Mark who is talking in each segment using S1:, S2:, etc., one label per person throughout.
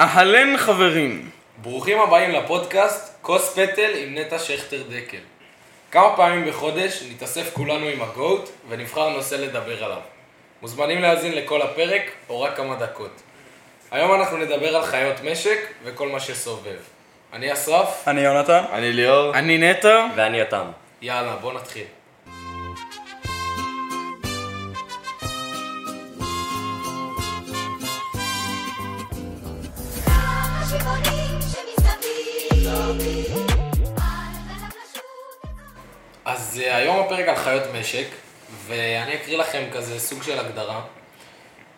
S1: אהלן חברים.
S2: ברוכים הבאים לפודקאסט כוס פטל עם נטע שכטר דקל. כמה פעמים בחודש נתאסף כולנו עם הגוט ונבחר נושא לדבר עליו. מוזמנים להאזין לכל הפרק או רק כמה דקות. היום אנחנו נדבר על חיות משק וכל מה שסובב. אני אסרף,
S1: אני יונתן.
S3: אני ליאור.
S1: אני נטע.
S3: ואני יתם.
S2: יאללה בוא נתחיל.
S4: השיבונים שמסביב. על החלשות.
S2: אז אה, היום הפרק על חיות משק, ואני אקריא לכם כזה סוג של הגדרה.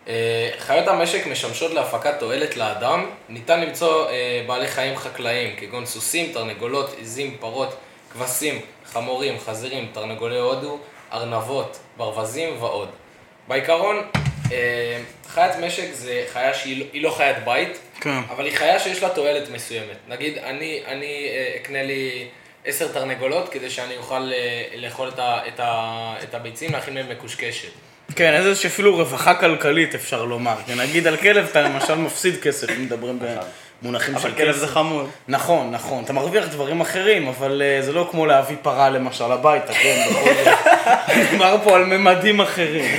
S2: אה, חיות המשק משמשות להפקת תועלת לאדם, ניתן למצוא אה, בעלי חיים חקלאיים כגון סוסים, תרנגולות, עיזים, פרות, כבשים, חמורים, חזירים, תרנגולי הודו, ארנבות, ברווזים ועוד. בעיקרון, אה, חיית משק זה חיה שהיא לא- היא לא חיית בית,
S1: כן.
S2: אבל היא חיה שיש לה תועלת מסוימת. נגיד, אני, אני אה, אקנה לי עשר תרנגולות כדי שאני אוכל אה, לאכול את, ה, את, ה, את הביצים, להכין מהם מקושקשת.
S1: כן, איזה שאפילו רווחה כלכלית אפשר לומר. כי נגיד על כלב אתה למשל מפסיד כסף, אם מדברים במונחים של כסף.
S3: נכון. אבל כלב זה חמוד.
S1: נכון, נכון. אתה מרוויח דברים אחרים, אבל אה, זה לא כמו להביא פרה למשל הביתה, כן, בכל זאת. מדובר פה על ממדים אחרים.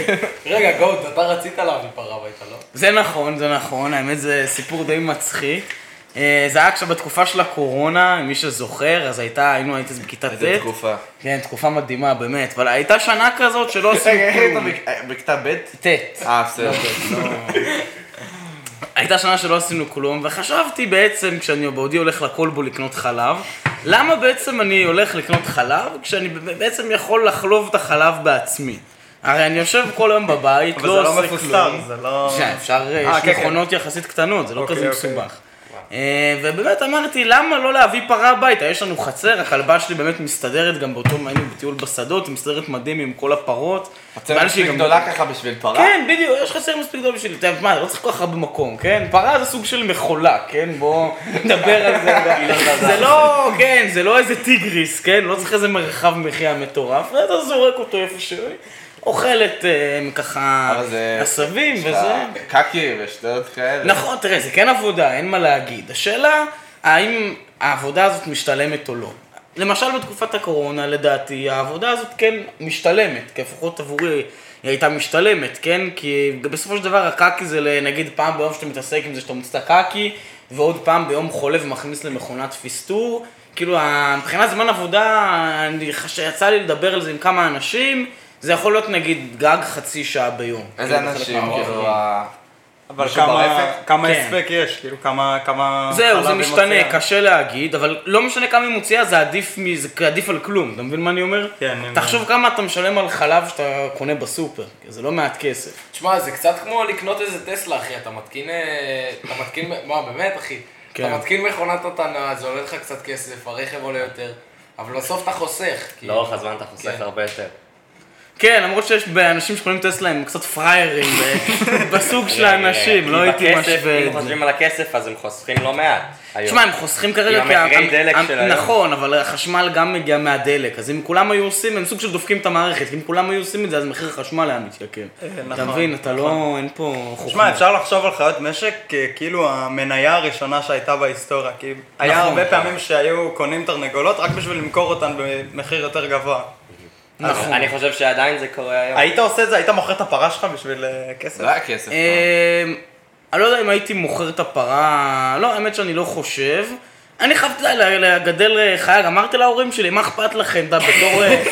S2: רגע, גאות, אתה רצית להביא פרה הביתה, לא?
S1: זה נכון, זה נכון, האמת זה סיפור די מצחיק. אה, זה היה עכשיו בתקופה של הקורונה, מי שזוכר, אז הייתה, היינו, הייתי אז בכיתה ט'.
S3: איזה תקופה.
S1: כן, תקופה מדהימה, באמת. אבל הייתה שנה כזאת שלא עשינו כלום.
S3: בכיתה ב'?
S1: ט'.
S3: אה, בסדר.
S1: לא, הייתה שנה שלא עשינו כלום, וחשבתי בעצם, כשאני בעודי הולך לכלבו לקנות חלב, למה בעצם אני הולך לקנות חלב, כשאני ב- בעצם יכול לחלוב את החלב בעצמי? הרי אני יושב כל היום בבית,
S3: אבל
S1: לא
S3: זה
S1: עושה
S3: לא
S1: כלום.
S3: מפוסטר, זה לא...
S1: כן, אפשר,
S3: אה,
S1: יש
S3: כן, כן.
S1: מכונות יחסית קטנות, זה לא
S3: אוקיי,
S1: כזה
S3: אוקיי.
S1: מסובך. אה, ובאמת אמרתי, למה לא להביא פרה הביתה? יש לנו חצר, הכלבה שלי באמת מסתדרת, גם באותו יום היינו בטיול בשדות, היא מסתדרת מדהים עם כל הפרות.
S3: הצמד
S1: בגלל שהיא
S3: מספיק
S1: גם-
S3: גדולה ככה בשביל פרה?
S1: כן, בדיוק, יש חסר מספיק גדול בשביל... אתה יודע, מה, אתה לא צריך כל כך הרבה מקום, כן? פרה זה סוג של מכולה, כן? בוא נדבר על זה. זה לא, כן, זה לא איזה טיגריס, כן? לא צריך איזה מרחב מחיה מטורף, ואתה זורק אותו איפה שהוא. אוכלת אה, ככה
S3: אבל זה-
S1: עשבים
S3: יש
S1: וזה.
S3: לה קקי ושטויות כאלה.
S1: נכון, תראה, זה כן עבודה, אין מה להגיד. השאלה, האם העבודה הזאת משתלמת או לא. למשל בתקופת הקורונה, לדעתי, העבודה הזאת כן משתלמת, כי לפחות עבורי היא הייתה משתלמת, כן? כי בסופו של דבר הקקי זה נגיד פעם ביום שאתה מתעסק עם זה, שאתה מוצא קקי, ועוד פעם ביום חולה ומכניס למכונת פסטור. כאילו, ה- מבחינת זמן עבודה, אני חש- יצא לי לדבר על זה עם כמה אנשים, זה יכול להיות נגיד גג חצי שעה ביום.
S3: איזה
S1: כאילו, בחלק
S3: אנשים,
S1: מהעבודה.
S3: כאילו... ה-
S5: אבל
S3: מישהו
S5: כמה,
S3: ברפת?
S5: כמה
S1: כן.
S5: הספק יש, כאילו כמה, כמה...
S1: זהו,
S5: חלב
S1: זה
S5: היא
S1: משתנה,
S5: מוציאה.
S1: קשה להגיד, אבל לא משנה כמה היא מוציאה, זה עדיף, מ- זה עדיף על כלום, אתה מבין מה אני אומר?
S5: כן, אני
S1: תחשוב כמה אתה משלם על חלב שאתה קונה בסופר, כי זה לא מעט כסף.
S2: תשמע, זה קצת כמו לקנות איזה טסלה, אחי, אתה מתקין... אה, אתה מתקין... מה, באמת, אחי?
S1: כן.
S2: אתה מתקין מכונת התנה, זה עולה לך קצת כסף, הרכב עולה יותר, אבל בסוף אתה חוסך. כאילו.
S6: לאורך הזמן אתה חוסך
S2: כן.
S6: הרבה יותר.
S1: כן, למרות שיש אנשים שקונים טסלה הם קצת פראיירים ב- בסוג של האנשים,
S6: כי
S1: לא הייתי
S6: בכסף,
S1: משווה
S6: אה, אם
S1: את זה.
S6: חושבים על הכסף, אז הם חוסכים לא מעט. היום.
S1: תשמע, הם חוסכים כרגע
S6: עם המחירי
S1: ה-
S6: דלק
S1: ה-
S6: של היום.
S1: נכון, אבל החשמל גם מגיע מהדלק, אז אם כולם היו עושים, הם סוג של דופקים את המערכת, אם כולם היו עושים את זה, אז מחיר החשמל היה מתייקר.
S6: אה,
S1: אתה
S5: נכון,
S1: מבין, אתה לא, אין פה חוכמה.
S5: תשמע, אפשר לחשוב על חיות משק ככאילו המניה הראשונה שהייתה בהיסטוריה, כי היה
S1: נכון.
S5: הרבה פעמים שהיו קונים תרנגולות רק בשביל למכור אותן במחיר יותר גבוה.
S6: אז
S1: נכון.
S6: אני חושב שעדיין זה קורה היום.
S5: היית עושה את זה, היית מוכר את הפרה שלך בשביל אה, כסף?
S3: לא היה כסף.
S1: אמ, אני לא יודע אם הייתי מוכר את הפרה, לא, האמת שאני לא חושב. אני חייב אתה יודע, לגדל אה, חיה, אמרתי להורים שלי, מה אכפת לכם, אתה יודע, בתור אה,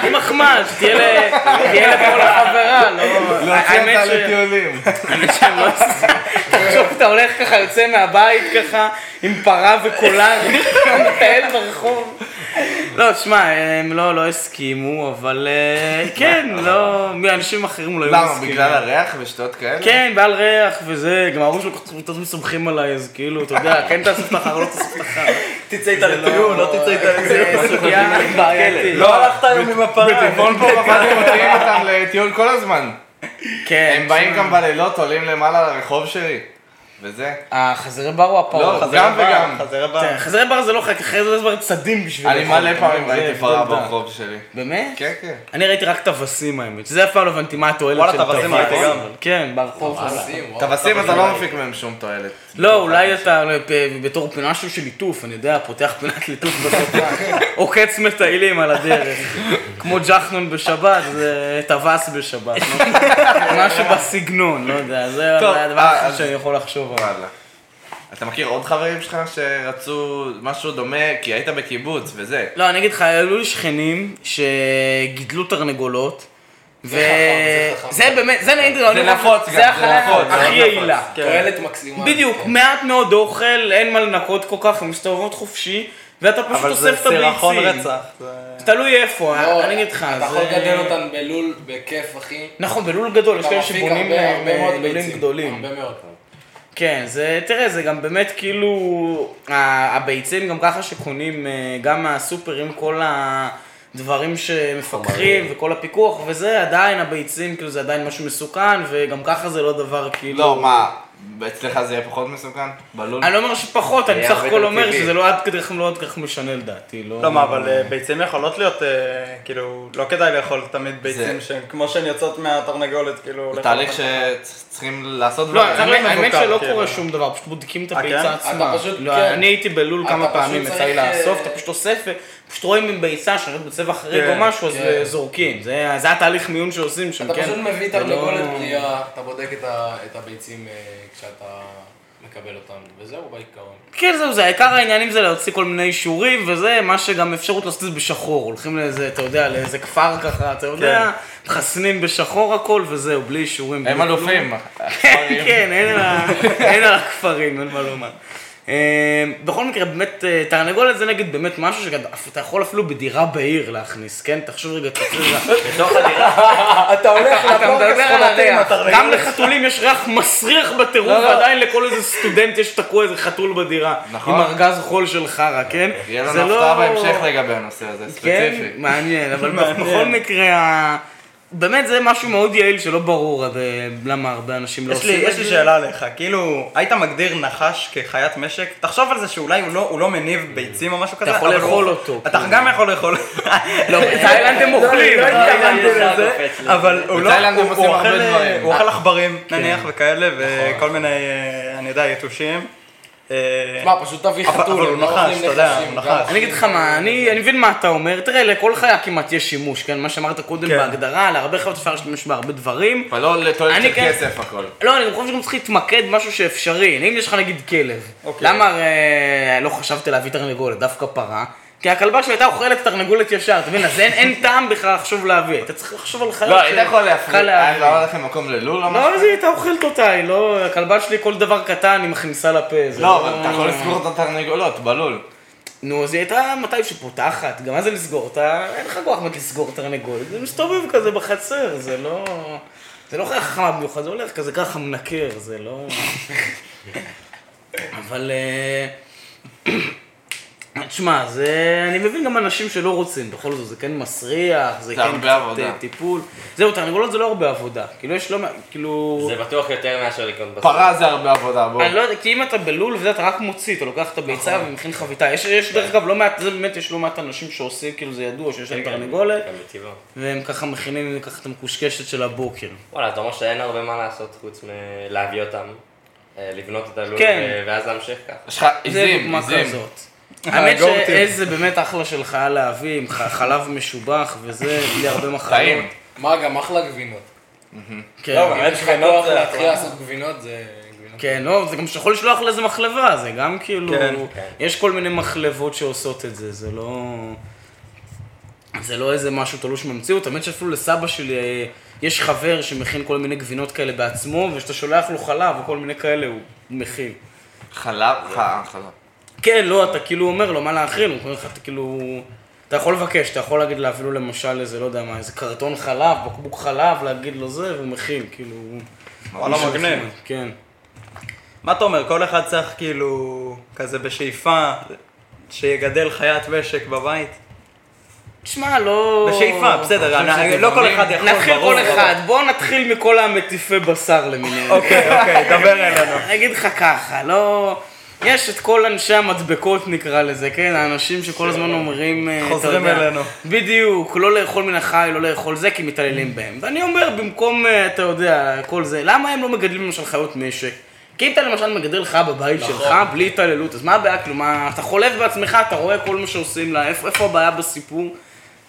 S1: חיית מחמד, שתהיה ל- תהיה לכל החברה, לא...
S3: להוציא
S1: האמת
S3: אותה
S1: ש-
S3: לטיולים.
S1: האמת שהם לא עשו. תחשוב, אתה הולך ככה, יוצא מהבית ככה, עם פרה וקולר, מטייל ברחוב. לא, תשמע, הם לא, לא הסכימו, אבל אה, כן, לא, אנשים אחרים לא היו
S3: למה?
S1: מסכימים.
S3: בגלל הריח ושטויות כאלה?
S1: כן, בעל ריח וזה, גם ההורים שלו כל כך- כל כך מסומכים עליי, אז כאילו, אתה
S3: אה.
S1: יודע, כן תאסוף את החר, לא תאסוף את החר.
S5: תצא איתה לטיול, לא תצא איתה
S1: זה
S5: לטיול.
S1: סוגיה בעייתית.
S5: לא הלכת היום עם הפרה.
S3: בטבעון פה בבית מוציאים אותם לטיול כל הזמן.
S1: כן.
S3: הם באים גם בלילות, עולים למעלה לרחוב שלי. וזה.
S1: החזרי בר או הפרות?
S3: לא,
S5: חזרה
S3: גם
S5: בר,
S3: וגם.
S5: חזרה בר.
S1: כן, חזרי בר זה לא חלק, חזרי בר צדים בשביל...
S3: אני
S1: לאכול.
S3: מלא פעמים
S1: זה
S3: ראיתי
S1: הבדל
S3: פרה
S1: דק.
S3: ברחוב שלי.
S1: באמת?
S3: כן, כן.
S1: אני ראיתי רק טווסים האמת, שזה אף פעם לא הבנתי מה התועלת
S5: וואלה,
S1: של
S5: טווסים
S1: טווס.
S5: ראיתי גם.
S1: כן, ברחוב.
S2: מעשים, וואו.
S3: טווסים אתה לא מפיק מהם שום תועלת.
S1: לא, אולי אתה לא, פ- בתור פינה משהו של ליטוף, אני יודע, פותח פינת ליטוף בסופה, עוקץ מטיילים על הדרך, כמו ג'חנון בשבת, זה טווס בשבת, לא? משהו בסגנון, לא יודע, זה הדבר
S3: אה,
S1: הכי
S3: אז-
S1: שאני יכול לחשוב עליו.
S3: וואלה. אתה מכיר עוד חברים שלך שרצו משהו דומה, כי היית בקיבוץ וזה.
S1: לא, אני אגיד לך, היו לי שכנים שגידלו תרנגולות. ו...
S2: זה חכם,
S1: זה באמת, זה נגיד, אני-
S3: נפוץ גם,
S1: זה
S3: זה
S1: החלק
S3: נפוץ, כן. זה
S1: הכי
S3: מאוד
S1: יעילה. אוקיי?
S2: תועלת מקסימה. כן.
S1: בדיוק, מעט מאוד אוכל, אין מה לנקות כל כך, הן מסתובבות חופשי, ואתה פשוט
S5: אבל זה
S1: אוסף את הביצים.
S5: סירחון רצח. זה-
S1: תלוי איפה,
S2: לא,
S1: אני אגיד לך,
S2: אתה יכול לגדל אותן בלול בכיף, אחי.
S1: נכון, בלול גדול, יש
S2: אתה
S1: כאלה
S2: מפיק
S1: שבונים
S2: הרבה-
S1: להם,
S2: הרבה מאוד
S1: אה, לולים
S2: ביצים,
S1: גדולים.
S2: הרבה מאוד.
S1: כן, זה, תראה, זה גם באמת כאילו, ה- הביצים גם ככה שקונים, אה, גם מהסופרים, כל הדברים שמפקחים וכל הפיקוח וזה, עדיין הביצים, כאילו זה עדיין משהו מסוכן, וגם ככה זה לא דבר כאילו...
S3: לא, מה, אצלך זה יהיה פחות מסוכן? בלול?
S1: אני לא אומר שפחות, אני
S6: היה
S1: בסך
S6: הרבה
S1: הכל
S6: יותר
S1: אומר
S6: טבעי.
S1: שזה לא עד כדי כך לא עד כך משנה לדעתי, לא...
S5: לא, מה, אבל אה, ביצים יכולות להיות, אה, כאילו, לא כדאי לאכול תמיד ביצים שהן, כמו שהן יוצאות מהתרנגולת, כאילו,
S3: זה
S5: לאכול
S3: תהליך
S5: אותן.
S3: שצריכים לעשות
S1: לא,
S3: דברים.
S1: האמת- האמת
S5: מבוקר,
S1: שלא
S5: כן.
S1: קורה שום דבר, פשוט בודקים את
S5: אה, כן?
S1: הביצה
S5: אתה
S1: עצמה.
S2: פשוט-
S1: לא,
S2: כן.
S1: אני הייתי בלול
S2: אתה
S1: כמה
S2: פשוט
S1: פעמים, יצא לי
S2: צריך, אה,
S1: לאסוף, אתה פשוט אוסף, פשוט רואים עם ביצה שנראית בצבע חריג או
S5: כן,
S1: משהו, אז
S2: כן.
S1: אה, זורקים. זה זה התהליך מיון שעושים שם,
S2: אתה
S1: כן?
S2: פשוט מביא
S1: זה לא-
S2: תרנגולת בריאה, אתה בודק את ה- את הביצים אה, כשאתה מקבל אותן, וזהו בעיקרון.
S1: כן, זהו, זה העיקר העניינים זה להוציא כל מיני אישורים וזה, מה שגם אפשרות לעשות את זה בשחור. הולכים לאיזה, אתה יודע, לאיזה כפר ככה, אתה יודע,
S2: כן.
S1: מחסנים בשחור הכל וזהו, בלי אישורים.
S3: הם
S1: בלי כלום.
S3: אלופים.
S1: כן, כן, אין על ה- אין על הכפרים, אין מה לומר. אה, בכל מקרה, באמת, אה, תרנגולת זה נגיד באמת משהו שאתה יכול אפילו בדירה בעיר להכניס, כן? תחשוב רגע, תחשוב רגע.
S2: אתה הולך
S1: אתה מדבר על הריח.
S5: התרנגולת.
S1: גם לחתולים יש ריח מסריח בטירוף,
S2: לא,
S1: ועדיין לכל איזה סטודנט יש תקוע איזה חתול בדירה.
S3: נכון.
S1: עם ארגז חול של חרא, כן?
S3: יהיה לנו
S1: זה לא-
S3: הפתעה בהמשך לגבי הנושא הזה,
S1: כן,
S3: ספציפי.
S1: מעניין, אבל
S5: מעניין.
S1: בכל מקרה, ה- באמת זה משהו מאוד יעיל שלא ברור עד, אה, למה הרבה אנשים לא
S5: יש לי,
S1: עושים את
S5: יש לי
S1: זה.
S5: שאלה עליך, כאילו, היית מגדיר נחש כחיית משק? תחשוב על זה שאולי הוא לא, הוא לא מניב ביצים או משהו כזה.
S1: יכול
S5: אבל הוא-
S1: לאכול אותו,
S5: אתה
S3: כאילו.
S5: גם יכול לאכול. כאילו,
S1: לא, בתאילנד הם אוכלים.
S5: לא
S1: אבל-
S5: התכוונתי
S6: ישר
S5: לזה,
S6: קופץ לי.
S5: אבל הוא לא,
S3: בתאילנד הם
S5: הוא-
S3: עושים
S5: הוא
S3: הרבה
S5: אוכל, אה,
S3: דברים. כן. נכון.
S5: הוא אוכל עכברים נניח וכאלה, וכל מיני, אה, אני יודע, יתושים. אה,
S2: מה, פשוט תביא
S5: אבל-
S2: חתול,
S5: אבל הוא
S2: הם לא
S5: נחש,
S2: אוכלים
S5: אתה יודע,
S2: נחשים,
S5: הוא
S2: גם
S5: נחש.
S1: אני אגיד לך מה, אני אני מבין מה אתה אומר, תראה, לכל חיה כמעט יש שימוש, כן? מה שאמרת קודם
S5: כן.
S1: בהגדרה, להרבה חיות אפשר להשתמש בהרבה דברים.
S3: אבל לא לתועלת
S1: אני
S3: של
S1: כן-
S3: כסף הכל.
S1: לא, אני גם חושב שגם צריך להתמקד משהו שאפשרי. אם יש לך נגיד כלב,
S5: אוקיי.
S1: למה אה, לא חשבת להביא תרנגולת, דווקא פרה? כי הכלבה שהייתה אוכלת תרנגולת ישר, אתה מבין? אז אין- אין טעם בכלל לחשוב להביא. אתה צריך לחשוב על חיות
S3: לא, היית
S1: ש-
S3: יכול
S1: קל
S3: להפריע.
S1: להביא.
S3: אה, לא היה לכם מקום ללול או
S1: לא,
S3: משהו?
S1: אז היא הייתה אוכלת אותה, היא לא... הכלבה שלי כל דבר קטן היא מכניסה לפה. זה
S3: לא, אבל אתה יכול לסגור את התרנגולות בלול.
S1: נו, אז היא הייתה מתי שפותחת, גם אז זה לסגור אותה, אין לך כוח באמת לסגור תרנגולת, זה מסתובב כזה בחצר, זה לא... זה לא חכם במיוחד, זה הולך כזה ככה מנקר, זה לא... אבל... אה, תשמע, זה... אני מבין גם אנשים שלא רוצים, בכל זאת, זה כן מסריח, זה
S3: זה
S1: כן
S3: הרבה
S1: קצת
S3: עבודה.
S1: אה, טיפול. זהו, תרנגולות זה לא הרבה עבודה, כאילו יש לא... מעט- כאילו...
S6: זה בטוח יותר מאשר לקנות בסוף.
S3: פרה זה הרבה עבודה, בואו.
S1: אני לא יודע, כי אם אתה בלול וזה, אתה רק מוציא, אתה לוקח את הביצה ומכין חביתה. יש, יש דרך אגב, לא מעט, זה באמת, יש לא מעט אנשים שעושים, כאילו זה ידוע שיש להם תרנגולת,
S6: גם בטבעו.
S1: והם ככה מכינים ככה את המקושקשת של הבוקר.
S6: וואלה, אתה אומר שאין הרבה מה לעשות חוץ מלהביא אותם, אה, לבנות את הלול,
S1: כן.
S6: אה, ואז להמשיך ככה.
S3: יש לך
S1: זה
S3: עיזים,
S1: דוגמה
S3: עיזים.
S1: כזאת. האמת
S5: go-to.
S1: שעז זה באמת אחלה של חיה להביא, עם ח- חלב משובח וזה, בלי הרבה מחלות.
S3: חיים.
S2: מה, גם אחלה גבינות.
S1: כן.
S5: לא, באמת,
S2: יש לך
S5: גבינות
S2: כוח
S5: זה
S2: להתחיל
S5: אחלה.
S2: לעשות גבינות, זה גבינות.
S1: כן, לא, זה גם שיכול לשלוח לאיזה מחלבה, זה גם כאילו...
S5: כן,
S6: כן.
S1: יש כל מיני מחלבות שעושות את זה, זה לא... זה לא איזה משהו תלוש ממציאות, האמת שאפילו לסבא שלי אה, יש חבר שמכין כל מיני גבינות כאלה בעצמו, וכשאתה שולח לו חלב וכל מיני כאלה, הוא מכין.
S3: חלב, ח- חלב.
S1: כן, לא, אתה כאילו אומר לו מה להכין, הוא אומר לך, אתה כאילו... אתה יכול לבקש, אתה יכול להגיד לו אפילו למשל איזה, לא יודע מה, איזה קרטון חלב, בקבוק חלב, להגיד לו זה, והוא מכין, כאילו...
S5: וואלה, מגניב.
S1: כן.
S5: מה אתה אומר, כל אחד צריך כאילו, כזה בשאיפה, שיגדל חיית משק בבית?
S1: תשמע, לא...
S7: בשאיפה, בסדר,
S3: אני חושב
S7: אני-
S3: שזה
S7: לא כל
S3: טבעונים.
S7: אחד יכול,
S1: נתחיל
S7: ברור,
S1: כל
S7: אבל-
S1: אחד, בואו נתחיל מכל המטיפי בשר למיניהם.
S7: אוקיי, אוקיי, דבר אלינו.
S1: אני אגיד לך ככה, לא... יש את כל אנשי המדבקות נקרא לזה, כן? האנשים שכל הזמן אומרים... אה, אתה
S7: חוזרים
S1: יודע,
S7: אלינו.
S1: בדיוק, לא לאכול מן החי, לא לאכול זה, כי מתעללים בהם. ואני אומר, במקום, אה, אתה יודע, כל זה, למה הם לא מגדלים למשל חיות משק? כי אם אתה למשל מגדל חיה בבית
S7: נכון.
S1: שלך, בלי התעללות, אז מה הבעיה? כלומר, אתה חולף בעצמך, אתה רואה כל מה שעושים לה, איפה איפה הבעיה בסיפור?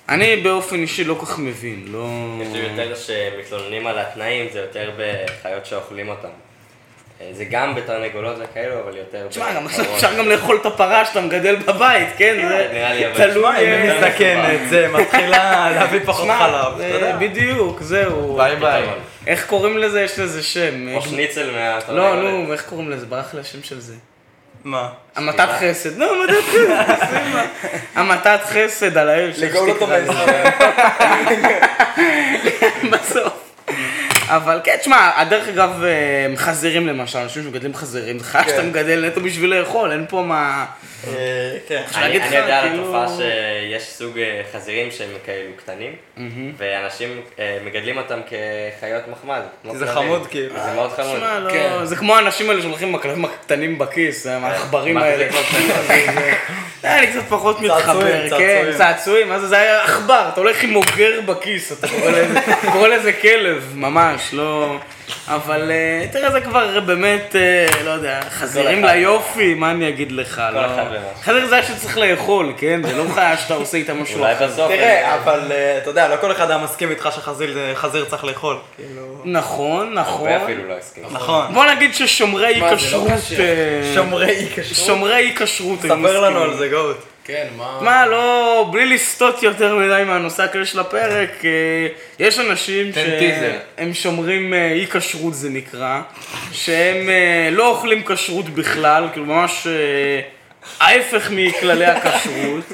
S1: אני באופן אישי לא כל כך מבין, לא...
S7: נכון.
S6: יש לי יותר שמתלוננים על התנאים, זה יותר בחיות שאוכלים אותם. אה, זה גם בתרנגולות וכאלו, אבל יותר...
S1: תשמע, גם
S6: בפרות.
S1: אפשר גם לאכול את הפרה שאתה מגדל בבית, כן? זה
S6: אה, נראה לי, אבל-
S1: תלוי...
S7: אם היא
S1: אה,
S7: מזדקנת, זה
S5: אה,
S7: מתחילה להביא פחות
S1: תשמע,
S7: חלב.
S1: זה-
S7: אתה יודע.
S1: אה, בדיוק, זהו.
S3: ביי ביי.
S1: איך קוראים לזה? יש לזה שם.
S6: או שניצל מהתרנגולת.
S1: לא, נו, איך קוראים לזה? ברח לי השם של זה.
S7: מה?
S1: המתת חסד. לא, המתת חסד, סימה. המתת חסד על האל שלך
S5: לגאול אותו
S1: שתקרא לזה.
S5: בישראל.
S1: בסוף. אבל כן, תשמע, דרך אגב, אה, חזירים למשל, אנשים שמגדלים חזירים, זה חיה שאתה מגדל נטו בשביל לאכול, אין פה מה...
S5: אה, כן.
S1: אפשר להגיד
S6: אני
S1: לך,
S6: אני יודע על
S1: כאילו-
S6: התופעה שיש סוג אה, חזירים שהם כאלו קטנים, ואנשים אה, מגדלים אותם כחיות מחמד. כמו
S5: זה
S6: כלבים.
S5: חמוד, כאילו.
S6: זה מאוד חמוד.
S1: תשמע,
S2: כן.
S1: לא, זה כמו האנשים האלה שהולכים עם הכלבים הקטנים בכיס, הם העכברים
S6: מה זה
S1: האלה.
S6: לקנות
S1: זה היה לי קצת פחות
S5: צעצועים,
S1: מתחבר, כן,
S5: צעצועים.
S1: צעצועים, מה זה, זה היה עכבר, אתה הולך עם אוגר בכיס, אתה קורא לזה- קורא לזה כלב, ממש, לא... אבל אה, תראה, זה כבר באמת, אה, לא יודע, חזירים
S6: אחד.
S1: ליופי, מה אני אגיד לך, לא...
S6: אחד ומשהו.
S1: חזיר זה היה שצריך לאכול, כן? זה לא חיה שאתה עושה איתה משהו
S6: אולי
S1: אחר.
S6: בסוף...
S5: תראה,
S6: אה,
S5: אבל אה, אתה יודע, לא כל אחד היה מסכים איתך שחזיר זה- חזיר צריך לאכול. כאילו...
S1: נכון, נכון.
S6: ואפילו לא הסכים.
S5: נכון.
S1: בוא נגיד ששומרי
S2: מה, זה לא
S1: כשרות...
S2: כשר.
S1: אה,
S5: שומרי כשרות.
S1: שומרי כשרות. היו
S5: ספר
S1: מסכימים.
S5: לנו על זה, גאות.
S2: כן, מה...
S1: מה, לא, בלי לסטות יותר מדי מהנושא הכללי של הפרק, אה, יש אנשים
S3: תן טיזר.
S1: שהם שומרים אה, אי כשרות זה נקרא, שהם אה, לא אוכלים כשרות בכלל, כאילו ממש אה, ההפך מכללי הכשרות,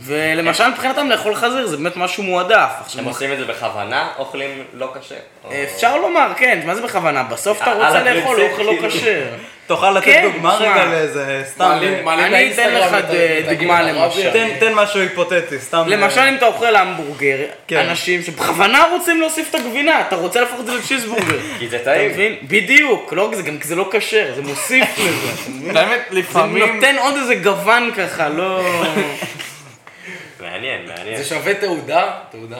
S1: ולמשל מבחינתם לאכול חזיר זה באמת משהו מועדף. עכשיו,
S6: הם עושים את זה בכוונה, אוכלים לא כשר. או-
S1: אפשר לומר, כן, מה זה בכוונה? בסוף אתה
S6: על
S1: רוצה
S6: הפרינציפ,
S1: לאכול אוכל לא
S6: כאילו.
S1: כשר.
S5: תוכל לתת
S1: כן,
S5: דוגמה
S1: תשמע.
S5: רגע לאיזה סתם.
S2: מעלים- מעלים
S1: אני אתן
S2: לאינסטגרם
S1: לך
S2: את ה- את
S1: דוגמה
S2: הגיל הרבי,
S1: למשל.
S5: תן- תן משהו היפותטי, סתם.
S1: למשל אם אתה אוכל המבורגר,
S5: כן.
S1: אנשים שבכוונה רוצים להוסיף את הגבינה, אתה רוצה להפוך את זה לצ'יזבורגר.
S6: כי זה
S1: אתה
S6: טעים.
S1: מבין? בדיוק, לא רק זה, גם כי זה לא כשר, זה מוסיף לזה.
S3: האמת,
S1: זה
S3: לפעמים...
S1: נותן עוד איזה גוון ככה, לא...
S6: מעניין, מעניין.
S2: זה שווה תעודה? תעודה...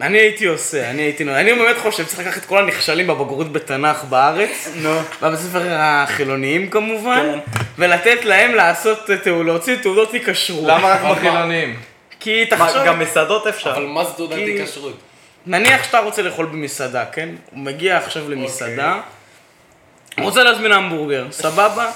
S1: אני הייתי עושה, אני הייתי נוהג. אני באמת חושב שצריך לקחת את כל הנכשלים בבגרות בתנ"ך בארץ,
S5: אה, נו.
S1: בבית ספר החילוניים כמובן,
S5: כן.
S1: ולתת להם לעשות, תעו- להוציא תעודות היקשרות.
S3: למה רק בחילונים?
S1: כי
S5: מה,
S1: תחשוב,
S5: גם מסעדות אפשר.
S2: אבל מה זה תעודת
S1: כי-
S2: הכשרות?
S1: נניח שאתה רוצה לאכול במסעדה, כן? הוא מגיע עכשיו למסעדה,
S5: אוקיי.
S1: הוא רוצה להזמין המבורגר, סבבה?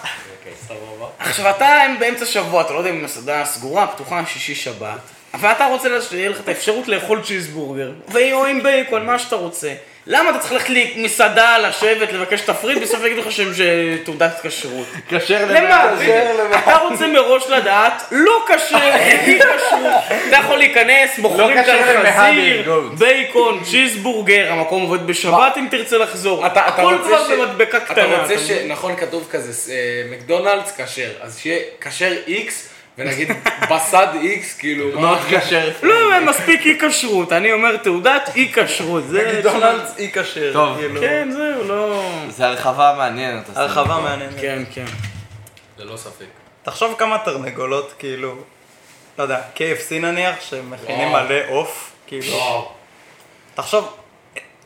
S2: סבבה.
S1: עכשיו אתה הם באמצע שבוע, אתה לא יודע אם המסעדה סגורה, פתוחה, שישי שבת, אבל אתה רוצה לה- שיהיה לך את האפשרות לאכול צ'יזבורגר, והיא או עם בייקון, מה שאתה רוצה. למה אתה צריך ללכת למסעדה, לשבת, לבקש תפריט, בסוף יגידו לך שהם ש- תעודת כשרות?
S3: כשר
S1: למה?
S3: כשר
S1: אתה רוצה מראש לדעת, לא כשר, אי כשרות. אתה יכול להיכנס,
S2: לא
S1: מוכרים כאן
S3: כשר למהדרין,
S1: חזיר,
S3: גוט.
S1: בייקון, צ'יזבורגר, המקום עובד בשבת אם תרצה לחזור.
S2: אתה- אתה
S1: הכל
S2: רוצה
S1: כבר
S2: ש-
S1: במדבקה קטנה.
S2: אתה רוצה
S1: אתה
S2: ש... נכון, כתוב כזה, אה, מקדונלדס כשר, אז שיהיה כשר איקס, ונגיד בסד איקס, כאילו... מה?
S3: מאוד כשר.
S1: לא, הם מספיק אי כשרות, אני אומר תעודת אי כשרות, זה...
S5: מקדונלדס אי כשר.
S3: טוב.
S5: כאילו.
S1: כן, זהו, לא...
S3: זה הרחבה מעניינת. עושה.
S5: הרחבה מעניינת.
S1: כן, כן.
S2: ללא לא ספק.
S5: תחשוב כמה תרנגולות, כאילו, לא יודע, KFC נניח, שמכינים
S2: וואו.
S5: מלא עוף, כאילו.
S2: וואו.
S5: תחשוב,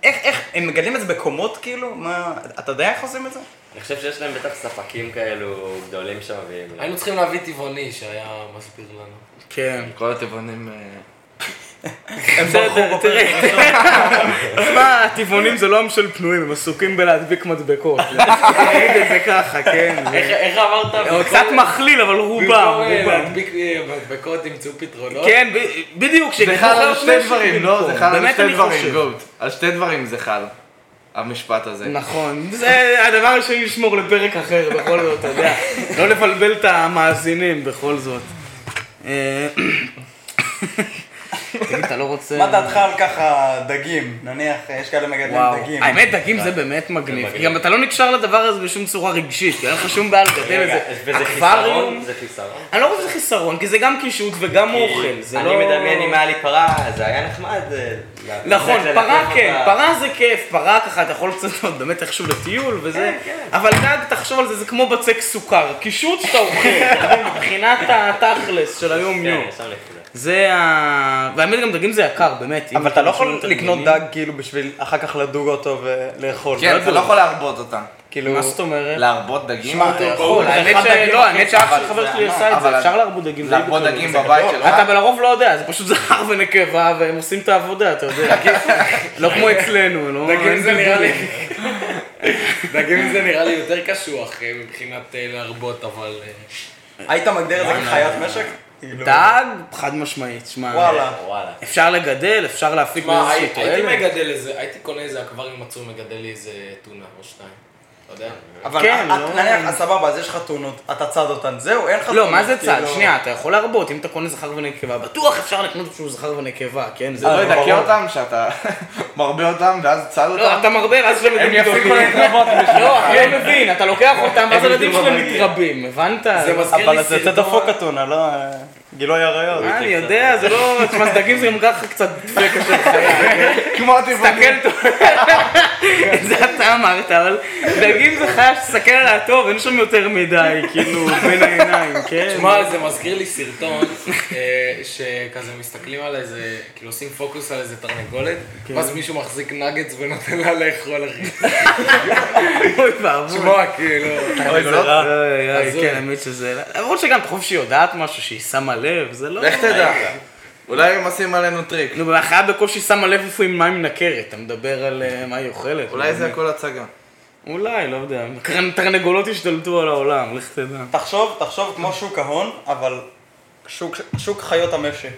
S5: איך, איך, הם מגדלים את זה בקומות, כאילו? מה, אתה יודע איך עושים את זה?
S6: אני חושב שיש להם בטח ספקים כאלו גדולים שמביאים. להם.
S2: היינו צריכים להביא טבעוני שהיה מסביר לנו.
S1: כן.
S3: כל הטבעונים... אה,
S5: הם
S1: בסדר,
S5: ברחו
S1: תראה. תשמע, הטבעונים זה לא עם של פנויים, הם עסוקים בלהדביק מדבקות. נגיד את זה ככה, כן. זה-
S2: איך- איך אמרת?
S3: לא,
S1: הוא קצת מכליל, אבל רובם,
S2: במקום אה,
S1: רובם.
S2: להדביק אה, מדבקות ימצאו פתרונות.
S1: כן, ב- בדיוק,
S3: זה
S1: שגם
S3: חל על
S1: חופש
S3: שתי דברים, לא?
S1: במקום.
S3: זה חל על
S1: באמת
S3: שתי
S1: אני
S3: דברים, לא.
S1: חושב.
S3: גוט. על שתי דברים זה חל, המשפט הזה.
S1: נכון, זה הדבר השני לשמור לפרק אחר, בכל זאת, אתה יודע. לא לבלבל את המאזינים, בכל זאת. אה, תגיד, אתה לא רוצה...
S5: מה דעתך על ככה דגים? נניח, יש כאלה מגדלים
S1: וואו,
S5: דגים.
S1: האמת, דגים זה באמת מגניב.
S6: מגניב.
S1: גם אתה לא נקשר לדבר הזה בשום צורה רגשית, כי אין לך שום בעיה לגדל
S6: רגע,
S1: את זה.
S6: וזה
S1: אקווריום?
S6: חיסרון? זה חיסרון.
S1: אני לא חושב שזה חיסרון, כי זה גם קישוט וגם אוכל, זה לא...
S6: אני מדמיין אם היה לי פרה, זה היה נחמד. אה, לה-
S1: נכון,
S6: ללכת
S1: פרה
S6: ללכלך
S1: כן,
S6: אותה.
S1: פרה זה כיף, פרה ככה אתה יכול לצאת עוד באמת איכשהו לטיול וזה,
S5: כן,
S1: אבל דג, תחשוב על זה, זה כמו בצק סוכר, קישוט שאתה אוכל, אתה מבין? מבחינת התכלס של היום יום.
S6: כן, יש שם נקודה.
S1: זה ה... והאמת גם דגים זה יקר, באמת. אם
S5: אבל אתה לא יכול
S1: שומעים את
S5: לקנות
S1: הדגים-
S5: דג כאילו בשביל אחר כך לדוג אותו ולאכול.
S3: כן, אתה לא יכול להרבות אותם.
S5: כאילו...
S1: מה זאת אומרת?
S3: להרבות דגים?
S5: שמע,
S3: אתה
S5: אה,
S3: יכול.
S1: יכול, האמת
S5: אחד דגים
S1: ש... לא, האמת
S5: אחי,
S1: שאף
S3: אבל
S1: חבר
S3: זה
S1: שלי
S3: ענק.
S1: עשה את זה,
S3: אבל-
S1: אפשר להרבות דגים. די
S3: להרבות
S1: בקלות.
S3: דגים בבית שלך?
S1: אתה לרוב לא יודע, זה פשוט זכר ונקבה, והם עושים את העבודה, אתה יודע. לא כמו אצלנו, לא... אין
S2: דגים זה נראה לי...
S1: בלבולים.
S2: דגים זה נראה לי יותר קשוח אה, מבחינת אה, להרבות, אבל... אה,
S5: היית מגדיר את זה כחיית משק? כאילו-
S1: דג, אה, חד משמעית, שמע.
S5: וואלה.
S6: וואלה.
S1: אפשר לגדל, אפשר להפיק
S2: תשמע,
S1: מאיזושהי
S2: הי- הייתי
S1: תועלת.
S2: מגדל איזה, הייתי קונה איזה אקווריום עצום, מגדל לי איזה טונה או שניים. אתה יודע?
S5: אבל
S1: כן,
S5: כן,
S1: לא-
S5: נניח, אז סבבה, אז יש לך טונות, אתה צד אותן, זהו, אין לך
S1: לא, מה
S5: טונות,
S1: זה צד?
S5: כאילו-
S1: שנייה, אתה יכול להרבות, אם אתה קונה זכר ונקבה, בטוח אפשר לקנות שהוא זכר ונקבה, כן? זה
S3: זה לא
S1: לא...
S3: ידכא אותם שאתה מרבה אותם ואז צד
S1: לא,
S3: אותם?
S1: אתה מרבה, ואז שלהם
S3: הם
S1: ילדים
S3: יפסיקו
S1: גדולים.
S3: להתרבות בשבילך.
S1: לא, אחי, לא מבין, אתה לוקח אותם, ואז
S3: הם
S1: הילדים
S3: ידעו
S1: שלהם
S3: מה מגיע.
S1: מתרבים, הבנת?
S2: זה מזכיר
S5: אבל
S2: לי
S5: זה יוצא
S2: סרטון...
S5: דפוק אתונה, לא? אה, גילוי עריות.
S1: מה, אני יודע, זה לא... תשמע, זה דגים זה גם ככה קצת דפק של חיה.
S3: כמו הטבעונים.
S1: תסתכל טוב. זה אתה אמרת, אבל דגים זה חיה שתסתכל עליה טוב, אין שם יותר מדי, כאילו, בין העיניים, כן?
S2: תשמע, זה מזכיר לי סרטון, אה, שכזה מסתכלים על איזה, כאילו עושים פוקוס על איזה תרנגולת, ואז מישהו מחזיק נגץ ונותן לה לאכול, אחי.
S1: אוי ואבוי.
S2: תשמע, כאילו...
S5: אוי,
S3: לא?
S5: זה רע.
S1: אוי, אוי,
S2: הזוי.
S1: כן, האמת שזה... למרות שגם, תחשוב שהיא יודעת משהו, שהיא שמה לב, זה לא...
S3: לך תדע. אולי הם עושים עלינו טריק.
S1: נו, החיה בקושי שמה לב איפה היא מה היא מנקרת, אתה מדבר על אה, מה היא אוכלת.
S3: אולי זה הכל הצגה.
S1: אולי, לא יודע. תרנגולות השתלטו על העולם, לך תדע.
S5: תחשוב, תחשוב כמו שוק ההון, אבל שוק, שוק חיות המשק.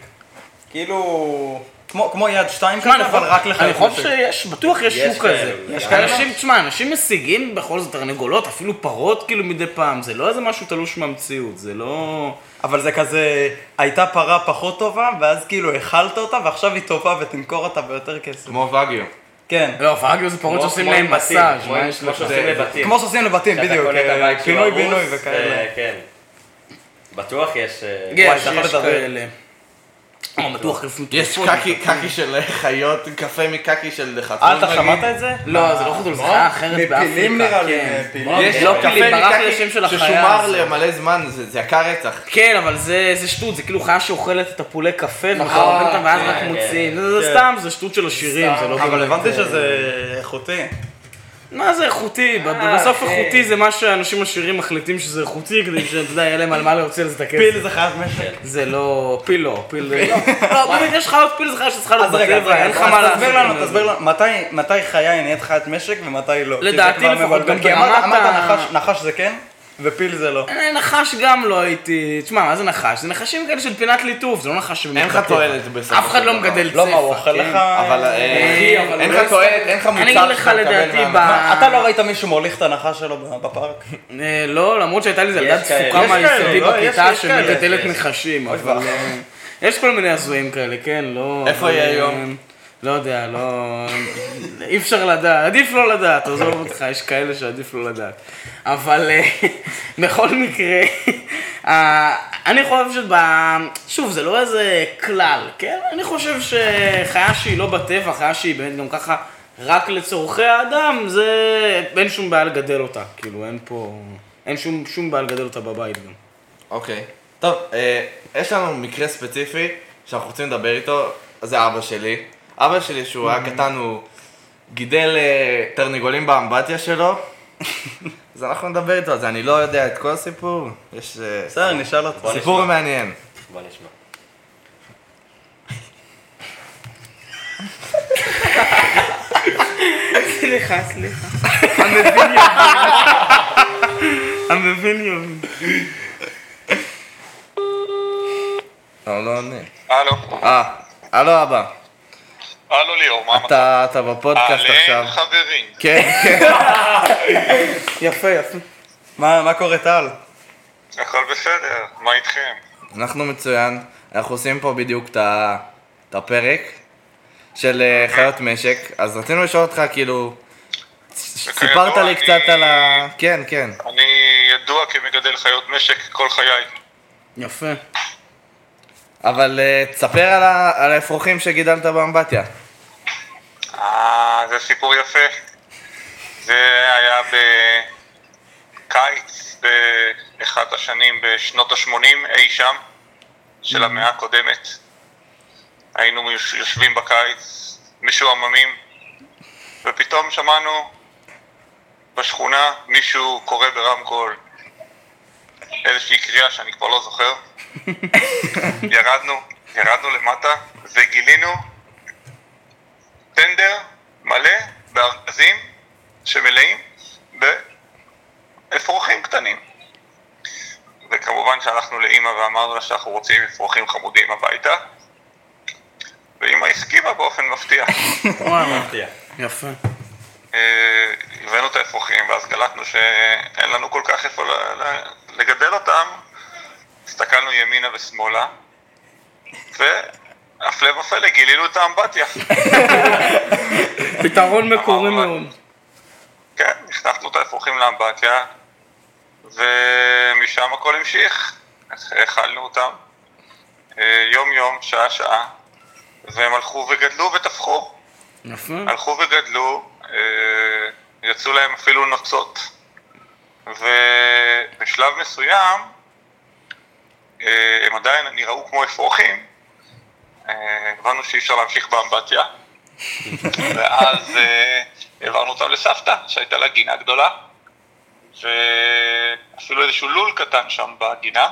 S5: כאילו, כמו, כמו יד שתיים
S1: תשמע, אני
S5: כזה, אבל
S1: חושב-
S5: רק
S1: אני
S5: לחיות
S1: חושב
S5: משק.
S1: שיש, בטוח יש
S6: יש
S1: שוק
S6: כאלה,
S1: כזה.
S6: יש
S1: יש
S6: כאלה.
S3: לא.
S1: אנשים, תשמע, אנשים משיגים בכל זאת תרנגולות, אפילו פרות כאילו מדי פעם, זה לא איזה משהו תלוש מהמציאות, זה לא...
S5: אבל זה כזה, הייתה פרה פחות טובה, ואז כאילו האכלת אותה, ועכשיו היא טובה ותמכור אותה ביותר כסף.
S3: כמו וגיו.
S5: כן.
S1: לא, פאגיו זה פרות
S6: כמו-
S1: שעושים
S6: כמו
S1: להם
S6: עם בתים,
S1: מסאז',
S6: כמו-
S1: מה יש
S6: כמו
S1: לך?
S6: שעושים לבתים.
S5: כמו שעושים לבתים,
S6: שאתה
S5: בדיוק, אה,
S6: קונה את הבית שהוא
S5: פינוי
S6: הרוס,
S5: בינוי
S6: אה,
S5: וכאלה.
S6: כן. בטוח יש... אה,
S1: יש,
S5: וואי, אתה יכול
S1: יש
S5: לדבר.
S1: כאלה. אה, או, בטוח כיף
S3: יש קקי, קקי של חיות, קפה מקקי של חתול.
S5: אה, אתה
S3: נגיד.
S5: שמעת את זה?
S1: לא, זה לא חתול, זה חיה אחרת באפריקה.
S5: מפילים נראה לי, אה,
S1: כן.
S5: מפילים.
S3: יש
S1: לא
S3: קפה
S1: פילים, ברח לי
S3: מקקי
S1: השם של החיה
S3: ששומר
S1: הזאת.
S3: למלא זמן, זה זה יקר רצח.
S1: כן, אבל זה זה שטות, זה כאילו חיה שאוכלת את הפולי קפה, ומחרבים אותם ואז
S6: כן,
S1: רק
S6: כן.
S1: מוציאים. זה זה
S5: נכון. כן.
S1: סתם, זה שטות של עשירים, זה לא...
S5: אבל
S1: באמת,
S5: הבנתי
S1: אה,
S5: שזה איכותי.
S1: כן. מה זה איכותי? ב-
S6: אה,
S1: בסוף
S5: כן.
S6: אוקיי.
S1: איכותי זה מה שאנשים עשירים מחליטים שזה איכותי, כדי שאתה יודע, יהיה להם על מה להוציא על זה את הכסף.
S5: פיל זה חיית משק.
S1: זה לא... פיל לא, פיל... לא, באמת יש חיות פיל זה חיה שצריכה להיות
S5: אז רגע, אז
S1: בטבע,
S5: רגע,
S1: אין לך מה
S5: אז
S1: לעשות.
S5: תסביר
S1: עם
S5: לנו,
S1: זה.
S5: תסביר לנו, מתי- מתי חיה היא נהיית חיית משק ומתי לא? כי זה
S1: לדעתי
S5: כבר
S1: לפחות,
S5: מבלבל.
S1: גם
S5: כי אמרת-
S1: ברמת
S5: אמרת
S1: ה-
S5: נחש- נחש זה כן, ופיל זה לא.
S1: אה, נחש גם לא הייתי... תשמע, מה זה נחש? זה נחשים כאלה של פינת ליטוף, זה לא נחש שבאמת...
S3: אין לך תועלת בסופו
S1: אף אחד
S3: של
S1: לא
S3: דבר.
S1: מגדל צפח.
S5: לא, מה, הוא אוכל
S1: כן?
S5: לך...
S3: אבל אה,
S2: אחי, אבל
S3: אין
S2: הוא
S3: לך
S2: לא
S3: תועלת, אין לך
S1: אני
S3: מוצר
S1: אגיד לך לדעתי ב-
S3: מה-
S5: מה, אתה לא ראית מישהו מוליך את הנחש שלו בפארק?
S1: אה, לא, למרות שהייתה לי איזה
S6: יש
S1: ילדה
S6: כאלה.
S1: דפוקה
S6: יש כאלה,
S1: מהיסודי
S5: לא? יש-
S1: בכיתה
S5: יש כאלה.
S1: שמגדלת
S6: יש.
S1: נחשים, אבל... אה, יש כל מיני הזויים כאלה, כן, לא...
S3: איפה
S1: אבל,
S3: היא
S1: אה,
S3: היום?
S1: לא יודע, לא... אי אפשר לדעת, עדיף לא לדעת, עזוב אותך, יש כאלה שעדיף לא לדעת. אבל אה, בכל מקרה, אה, אני חושב שב... שוב, זה לא איזה כלל, כן? אני חושב שחיה שהיא לא בטבע, חיה שהיא באמת גם ככה רק לצורכי האדם, זה... אין שום בעיה לגדל אותה, כאילו, אין פה... אין שום, שום בעיה לגדל אותה בבית גם.
S3: אוקיי. טוב, אה, יש לנו מקרה ספציפי שאנחנו רוצים לדבר איתו, זה אבא שלי. אבא שלי, שהוא היה קטן, הוא גידל אה, תרנגולים באמבטיה שלו, אז אנחנו נדבר איתו על זה, אני לא יודע את כל הסיפור, יש אה,
S5: בסדר, נשאל אותו.
S8: נכון,
S6: בוא
S3: סיפור
S6: נשמע.
S3: מעניין.
S6: בוא נשמע.
S1: סליחה, סליחה. המבין יבין. המבין יבין.
S3: לא, לא עונה.
S8: הלו,
S3: אה, הלו אבא,
S8: הלו ליאור, מה המצב? אה,
S3: אתה אתה בפודקאסט עכשיו.
S8: אהלן חברים,
S3: כן, כן.
S5: יפה, יפה. מה מה קורה טל?
S8: הכל בסדר, מה איתכם?
S3: אנחנו מצוין, אנחנו עושים פה בדיוק את ה... את הפרק של אה,
S8: אוקיי.
S3: חיות משק, אז רצינו לשאול אותך, כאילו, סיפרת לי
S8: אני-
S3: קצת על ה... כן, כן.
S8: אני ידוע כמגדל חיות משק כל חיי.
S1: יפה.
S3: אבל אה, תספר על ה- על האפרוחים שגידלת באמבטיה.
S8: אה, זה סיפור יפה. זה היה בקיץ באחת השנים בשנות ה-80 אי שם, של המאה הקודמת. היינו יוש- יושבים בקיץ, משועממים, ופתאום שמענו בשכונה מישהו קורא ברמקול איזושהי קריאה שאני כבר לא זוכר. ירדנו, ירדנו למטה וגילינו טנדר מלא בארגזים שמלאים באפרוחים קטנים. וכמובן שהלכנו לאימא ואמרנו לה שאנחנו רוצים אפרוחים חמודים הביתה, ואימא הסכימה באופן מפתיע.
S1: יפה.
S8: אה, הבאנו את האפרוחים ואז גלטנו שאין לנו כל כך איפה ל- ל- לגדל אותם, הסתכלנו ימינה ושמאלה, והפלא ופלא גילינו את האמבטיה.
S1: פתרון מקורי מאוד.
S8: כן, נכנסנו את האפרוחים לאמבטיה, ומשם הכל המשיך. האכלנו אותם אה, יום-יום, שעה-שעה, והם הלכו וגדלו וטפחו.
S1: יפה.
S8: הלכו וגדלו, אה, יצאו להם אפילו נוצות. ובשלב מסוים, אה, הם עדיין נראו כמו אפרוחים, אה, הבנו שאי אפשר להמשיך באמבטיה, ואז אה, העברנו אותם לסבתא, שהייתה לה גינה גדולה, ואפילו איזשהו לול קטן שם בגינה.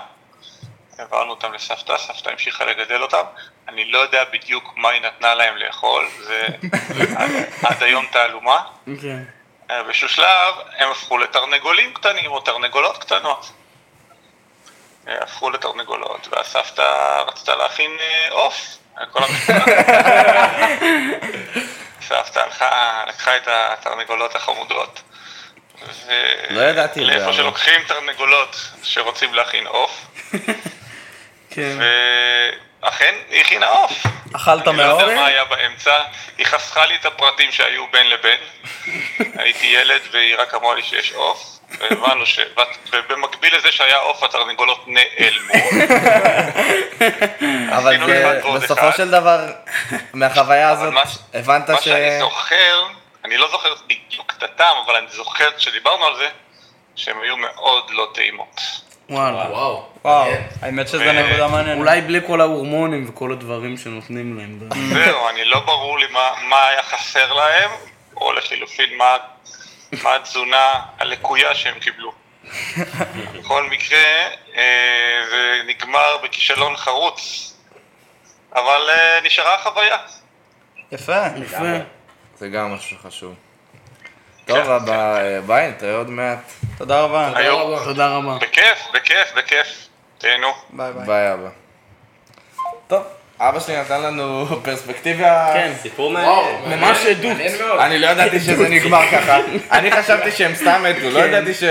S8: העברנו אותם לסבתא, סבתא המשיכה לגדל אותם. אני לא יודע בדיוק מה היא נתנה להם לאכול, זה עד, עד היום תעלומה.
S1: כן.
S8: אה, באיזשהו שלב הם הפכו לתרנגולים קטנים או תרנגולות קטנות. אה, הפכו לתרנגולות, והסבתא רצתה להכין אה, עוף, אה, כל המשפחה. סבתא הלכה, לקחה את התרנגולות החמודות. ו...
S3: לא ידעתי את זה,
S8: לאיפה
S3: אבל.
S8: שלוקחים תרנגולות שרוצים להכין עוף,
S1: כן.
S8: ואכן היא הכינה עוף.
S5: אכלת
S8: אני לא
S5: מהאור?
S8: יודע מה היה באמצע, היא חסכה לי את הפרטים שהיו בין לבין. הייתי ילד והיא רק אמרה לי שיש עוף, והבנו ש... ובמקביל לזה שהיה עוף התרנגולות נעלמו.
S3: אבל
S8: עשינו
S3: זה-
S8: אחד ועוד
S3: בסופו
S8: אחד.
S3: של דבר, מהחוויה
S8: אבל
S3: הזאת,
S8: מה ש-
S3: הבנת
S8: מה
S3: ש...
S8: שאני זוכר, אני לא זוכר בדיוק את הטעם, אבל אני זוכר שדיברנו על זה, שהן היו מאוד לא טעימות.
S1: וואלה.
S2: וואו.
S5: וואו, האמת שזה
S8: אה,
S5: נקודה מעניינת.
S1: אולי בלי כל ההורמונים וכל הדברים שנותנים להם.
S8: זהו, אני לא ברור לי מה- מה היה חסר להם, או לחילופין מה- מה התזונה הלקויה שהם קיבלו. בכל מקרה, אה, זה נגמר בכישלון חרוץ, אבל אה, נשארה החוויה.
S5: יפה.
S1: יפה.
S3: זה גם משהו חשוב. טוב, אבא, אה, ביי, נתראה עוד מעט.
S5: תודה רבה.
S2: תודה
S8: היום.
S2: רבה.
S1: תודה רבה.
S8: בכיף, בכיף, בכיף. תהנו.
S5: ביי ביי.
S3: ביי, אבא. טוב, אבא שלי נתן לנו פרספקטיבה...
S1: כן.
S6: סיפור
S2: וואו,
S6: מעניין.
S1: ממש עדות.
S2: מעניין מאוד.
S3: אני לא ידעתי שזה נגמר ככה. אני חשבתי שהם סתם מתו, לא ידעתי ש...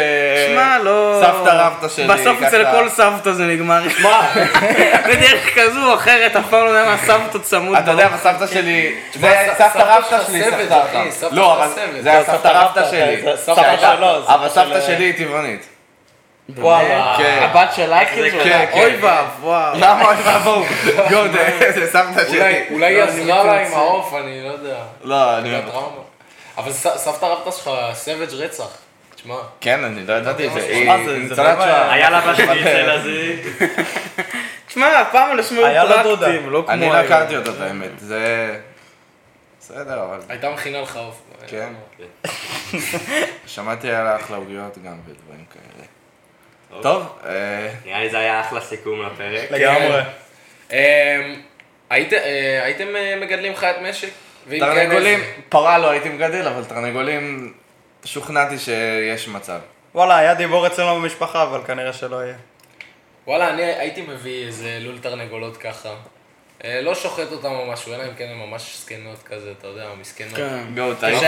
S1: שמע, לא...
S3: סבתא רבתא שלי,
S1: בסוף
S3: ככה.
S1: אצל כל סבתא זה נגמר.
S2: מה?
S1: בדרך כזו או אחרת, אף פעם לא יודע מה סבתא צמוד.
S3: אתה יודע,
S1: בראש.
S3: אבל סבתא שלי, זה
S2: ס-
S3: סבתא
S2: סבתא
S3: רבתא
S2: שלך
S3: שלי
S2: סבט,
S3: סבתא
S2: אחי,
S3: אותה.
S2: סבתא
S3: לא,
S2: שלך
S3: אבל
S2: סבט.
S3: זה היה
S2: זה
S3: סבתא רבתא שלי.
S7: זה סבתא
S3: שהייתה-
S7: שלו, זה
S3: אבל
S7: סבתא
S3: סבתא
S7: של-
S3: שלי היא טבעונית.
S1: וואלה.
S3: כן.
S1: הבת שלה כאילו?
S3: כן, כן.
S1: אוי ואבוי.
S3: למה אוי ואבוי? גוד, זה סבתא
S2: אולי-
S3: שלי.
S2: אולי היא
S1: לא, אני
S2: עזרה לה עם
S1: מתנצל.
S2: העוף, אני לא יודע.
S3: לא, אני...
S2: הייתה טראומה. אבל ס- סבתא רבתא שלך סבג' רצח. תשמע.
S3: כן, אני לא ידעתי את זה. היא
S7: מה זה, זה
S3: היא ניצולת
S7: לא
S3: שואה.
S6: היה לה בשניצל אז היא...
S1: תשמע, אף פעם אנשים
S7: היה
S1: היו
S7: לה דודה.
S1: פרקטיים, לא כמו...
S3: אני לא
S1: היום.
S3: הכרתי אותה, את האמת. זה... בסדר, אבל
S2: הייתה מכינה לך עוף.
S3: כן. שמעתי על החלאוגיות גם ודברים כאלה. טוב, אה,
S6: נראה לי זה היה אחלה סיכום לפרק.
S7: לגמרי.
S2: אמ, הייתם- אה, הייתם אה, מגדלים חיית משק? ואם כן,
S3: תרנגולים,
S2: איזה?
S3: פרה לא הייתי מגדל, אבל תרנגולים, שוכנעתי שיש מצב.
S5: וואלה, היה דיבור אצלנו במשפחה, אבל כנראה שלא יהיה.
S2: וואלה, אני הייתי מביא איזה לול תרנגולות ככה. אה, אה, לא שוחט אותם או משהו, אלא אם כן הן ממש זקנות כזה, אתה יודע, מסכנות. אה,
S1: כן.
S3: גאות,
S1: היית-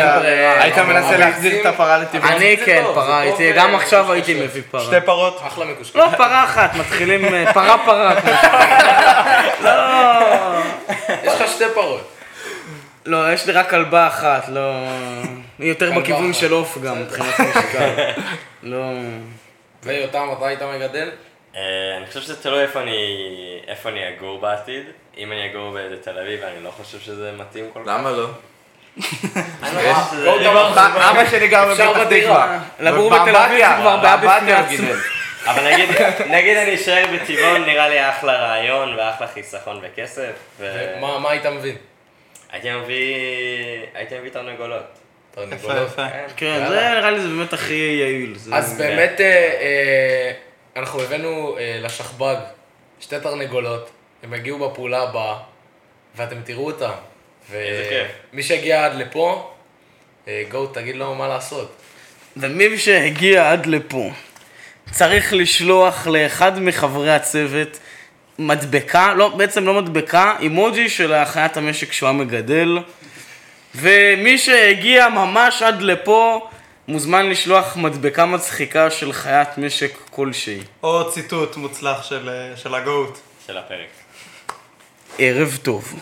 S3: היית מנסה להחזיר את הפרה לטבעה?
S1: אני
S2: זה
S1: כן
S2: טוב, זה
S1: פרה
S2: טוב,
S1: הייתי,
S2: אה,
S1: גם עכשיו
S2: קשקשת.
S1: הייתי מביא פרה.
S5: שתי פרות.
S2: אחלה מקושקש.
S1: לא, פרה אחת, מתחילים אה, פרה פרה. לא. כמו ש-
S2: יש לך שתי פרות.
S1: לא, יש לי רק כלבה אחת, לא... היא יותר
S2: כלבה
S1: בכיוון
S2: אחת.
S1: של עוף גם, מבחינת משקל. לא...
S2: ויותם, אתה היית מגדל?
S6: אה, אני חושב שזה תלוי איפה אני, איפה אני אגור בעתיד. אם אני אגור באיזה תל אביב, אני לא חושב שזה מתאים כל כך.
S3: למה לא?
S6: אה,
S2: לא, אתה אמרת,
S3: אבא שלי גר
S1: אפשר
S3: בפתח
S1: בדירה.
S3: תקווה.
S1: לגור בתל אביב זה כבר בעיה בפני עצמה.
S6: אבל נגיד, נגיד אני אשאר בטבעון, נראה לי אחלה רעיון ואחלה חיסכון בכסף. ו-
S2: מה מה היית מבין?
S6: הייתי מביא, הייתי מביא תרנגולות.
S2: תרנגולות.
S1: כן, זה נראה לי זה באמת הכי יעיל. זה-
S2: אז באמת, אה, אה, אנחנו הבאנו אה, לשכב"ג שתי תרנגולות, הם יגיעו בפעולה הבאה, ואתם תראו אותם. ו-
S6: איזה כיף.
S2: מי שהגיע עד לפה, אה, גו, תגיד לו מה לעשות.
S1: ומי שהגיע עד לפה צריך לשלוח לאחד מחברי הצוות מדבקה, לא, בעצם לא מדבקה, אימוג'י של חיית המשק שהוא המגדל. ומי שהגיע ממש עד לפה מוזמן לשלוח מדבקה מצחיקה של חיית משק כלשהי.
S5: או ציטוט מוצלח של, אה, של הגאות.
S6: של הפרק.
S1: ערב טוב.